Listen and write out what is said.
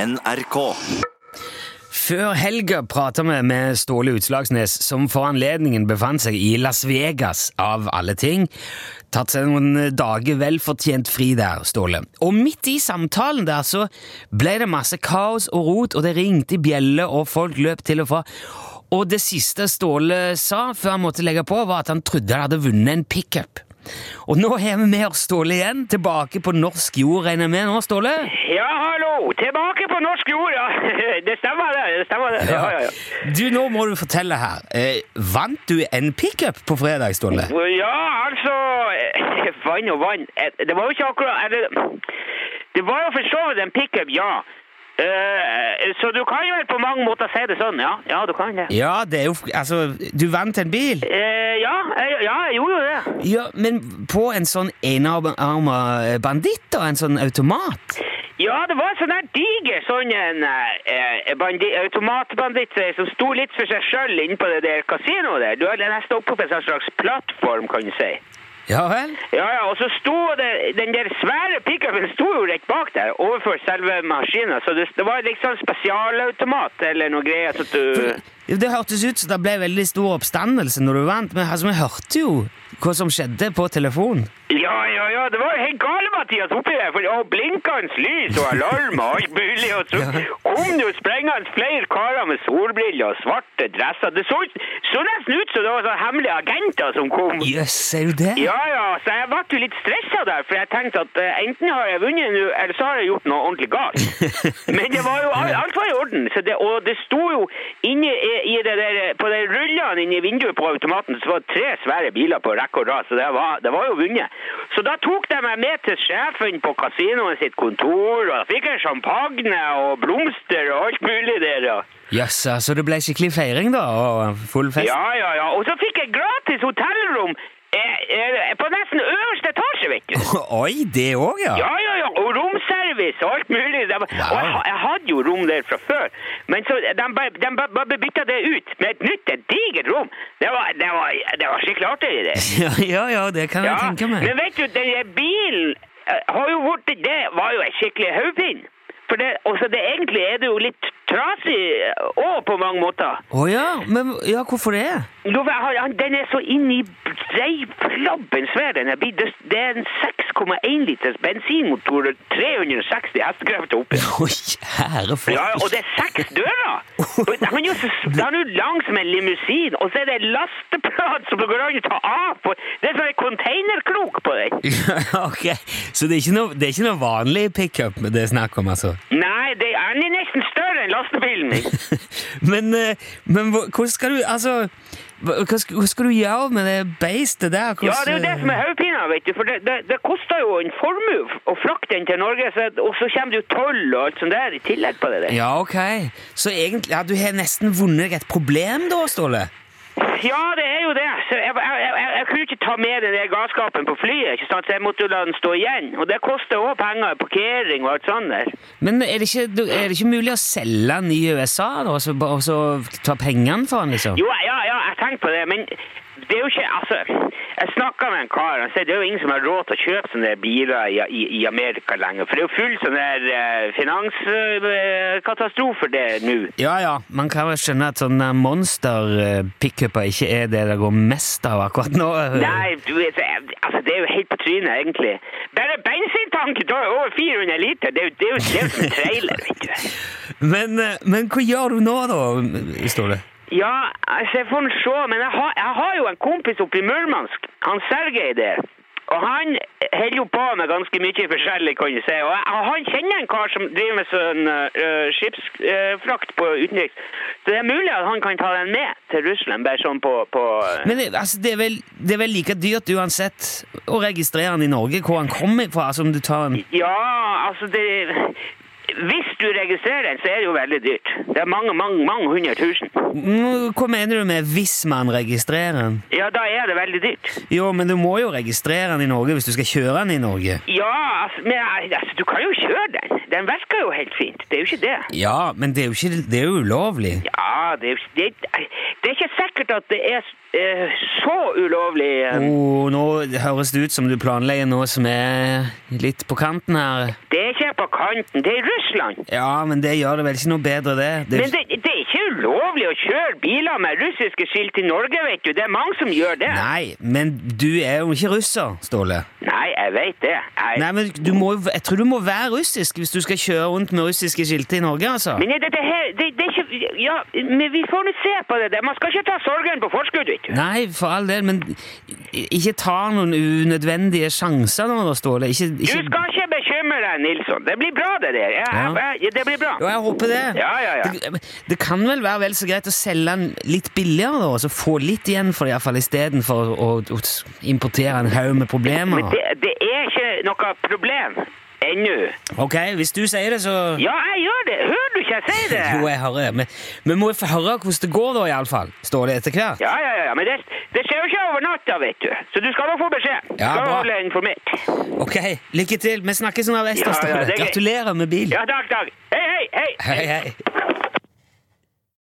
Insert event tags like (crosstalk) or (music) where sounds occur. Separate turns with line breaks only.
NRK.
Før helga prata vi med Ståle Utslagsnes, som for anledningen befant seg i Las Vegas, av alle ting. Tatt seg noen dager velfortjent fri der, Ståle. Og midt i samtalen der så ble det masse kaos og rot, og det ringte i bjeller, og folk løp til og fra. Og det siste Ståle sa før han måtte legge på, var at han trodde han hadde vunnet en pickup. Og nå har vi med oss Ståle igjen, tilbake på norsk jord, regner jeg med nå, Ståle?
Ja, hallo! Tilbake på norsk jord, ja! (laughs) Det stemmer, det. det stemmer det. Ja, ja, ja.
Du, nå må du fortelle her. Eh, vant du en pickup på fredag, Ståle?
ja altså eh, (laughs) Vann og vann. Eh, Det var jo ikke akkurat eller, Det var jo for så vidt en pickup, ja. Eh, så du kan jo vel på mange måter si det sånn, ja. Ja, du kan det.
Ja, det er jo Altså, du vant en bil.
Eh, ja, jeg, ja, jeg gjorde jo det.
Ja, men på en sånn enarma eh, banditt, da? En sånn automat?
Ja, det var en sånn der diger sånn en eh, bandi, automatbanditt eh, som sto litt for seg sjøl inne på det der kasinoet der. Du har nesten oppe på en sånn slags plattform, kan du si.
Ja vel?
Ja, ja, og så sto det, den der svære pickupen sto jo rett bak der, overfor selve maskinen. Så det, det var liksom spesialautomat eller noe greier. Så at du...
Jo, Det hørtes ut som det ble veldig stor oppstandelse når du vant, men altså, vi hørte jo hva som skjedde på telefon.
Ja, ja, ja, det var jo helt gale, Mathias, oppi der. For, og blinkende lys og alarm og alt mulig. Og så kom det jo sprengende flere karer med solbriller og svarte dresser. Det så, så nesten ut som det var sånne hemmelige agenter som kom.
Jøss, er du det?
Ja, ja, så jeg ble jo litt stressa der, for jeg tenkte at eh, enten har jeg vunnet nå, eller så har jeg gjort noe ordentlig galt. Men det var jo, alt, alt var i orden, så det, og det sto jo inne i, i det der, på de rullene inne i vinduet på automaten, så var det tre svære biler på rekke og rad, så det var, det var jo vunnet. Så da tok de meg med til sjefen på kasinoen sitt kontor, og da fikk jeg champagne og blomster og alt mulig der, ja.
Jøss, så det ble skikkelig feiring, da? Og full fest?
Ja, ja, ja, og så fikk jeg gratis hotellrom eh, eh, på nesten øverste etasje, vet du.
(laughs) Oi, det òg, ja?
Ja, ja, ja, og romservice og alt mulig. Det var-
Wow.
Og jeg, ha- jeg hadde jo rom der fra før, men så de bare de bare- bare bytta det ut med et nytt, et digert rom. Det var, det var, det var skikkelig artig, det.
(laughs) Ja, ja, ja det kan jeg tenke meg.
men vet du, den der bilen eh, har jo vært, det var jo en skikkelig høvpinn. For det, også det, egentlig er det jo litt trasig òg, på mange måter.
Å ja, men ja, hvorfor det?
Jo, for jeg har- han- Den er så inn i breiflabben svær, den her bilen. Det, det er en 6,1 liters bensinmotor og 360 hestekrefter oppi.
Oi, herre
Ja, og det er seks dører! Og Han er jo så s- han er jo lang som en limousin, og så er det en lasteplan som det går an å ta av på. Det er sånn en containerkrok på den.
(laughs) Ja, ok. Så det er ikke noe, det er ikke noe vanlig pickup det er snakk om, altså? (laughs)
Nei, det, han er nesten større enn lastebilen min.
Men, eh, men hvor, hvor skal du Altså, hva hva skal, hva skal du gjøre med det beistet der? Hvordan-
Ja, det er jo det som er hodepina, vet du. For det, det, det koster jo en formue f- å frakte den til Norge, så, og så kommer det jo toll og alt sånt der i tillegg på det der.
eh, Ja, ok. Så egentlig ja, Du har nesten vunnet et problem, da, Ståle?
Ja, det er jo det. Så jeg, jeg, jeg, jeg- jeg kunne jo ikke ta med den der galskapen på flyet, ikke sant? så jeg måtte jo la den stå igjen. Og det koster òg penger, parkering og alt sånt der.
Men er det ikke, du- er det ikke mulig å selge den i USA, da, og så, ba- og så ta pengene for den, liksom?
Jo, ja, ja, jeg tenkte på det, men det er jo ikke Altså, jeg snakka med en kar, han sier det er jo ingen som har råd til å kjøpe sånne biler i, i, i Amerika lenger, for det er jo full sånn der eh, finanskatastrofer der nå.
Ja ja, man kan vel skjønne at sånne monster-pickuper ikke er det det går mest av akkurat nå.
Nei, du vet, altså det er jo helt på trynet, egentlig. Bare bensintanken tar jo over 400 liter! Det er jo, det er jo, det er jo som en trailer, vet du.
Men, eh, men hva gjør du nå, da, Ståle?
Ja, altså, jeg får nå se, men jeg har, jeg har jo en kompis oppe i Murmansk, han Sergej der. Og han holder jo på med ganske mye forskjellig, kan du si. Og jeg, og han kjenner en kar som driver med sånn eh, skipsfrakt på utenriks. Så det er mulig at han kan ta den med til Russland, bare sånn på, på
Men det- altså, det, er vel, det er vel like dyrt uansett å registrere den i Norge, hvor han kommer fra, som du tar den
Ja, altså det Hvis du registrerer den, så er det jo veldig dyrt. Det er mange, mange, mange hundre tusen.
Mm, Hva mener du med 'hvis man registrerer den'?
Ja, da er det veldig dyrt.
Jo, men du må jo registrere den i Norge hvis du skal kjøre den i Norge.
Ja, altså, men altså, du kan jo kjøre den. Den virker jo helt fint. Det er jo ikke det.
Ja, men det er jo, ikke, det er jo ulovlig.
Ja, det er jo ikke det, er- det er ikke sikkert sikkert at det er eh, så ulovlig. eh,
Oh, nå høres det ut som du planlegger noe som er litt på kanten her.
Det er ikke på kanten, det er Russland.
Ja, men det gjør det vel ikke noe bedre, det. det
Men det, det er ikke ulovlig å kjøre biler med russiske skilt til Norge, vet du. Det er mange som gjør det.
Nei, men du er jo ikke russer, Ståle.
Nei, jeg vet det. Jeg...
Nei, men du må, jo- Jeg tror du må være russisk hvis du skal kjøre rundt med russiske skilter i Norge, altså.
Men er dette her det, det er ikke Ja, men vi får nå se på det der. Man skal ikke ta sorgen på forskudd, vet du.
Nei, for all del, men i- ikke ta noen unødvendige sjanser nå, da, Ståle. Ikke,
Du
ikke...
skal ikke bekymre deg, Nilsson. Det blir bra, det der. Jeg,
Ja.
jeg, jeg, det blir bra.
Jo, jeg håper det.
Ja, ja, ja.
Det, det kan vel være vel så greit å selge den litt billigere, da, og så få litt igjen for det, iallfall istedenfor å, å importere en haug med
Men
problemer.
det, det er ikke noe problem ennå.
Ok, hvis du sier det, så
Ja, jeg gjør det. Hører du ikke jeg sier det?
(laughs) Jo, jeg hører det. Men vi må jo få høre hvordan det går, da, iallfall. Står det etter hvert?
Ja, ja, ja, ja, men det, det skjer jo ikke over natta, vet du. Så du skal nok få beskjed. Du
Ja,
skal
bra.
holde deg informert.
Ok, lykke til. Vi snakkes underveis, da,
Ja, ja,
Ståle.
det er greit.
Gratulerer med bil.
Ja, takk, takk. Hei, hei, hei.
Hei, hei.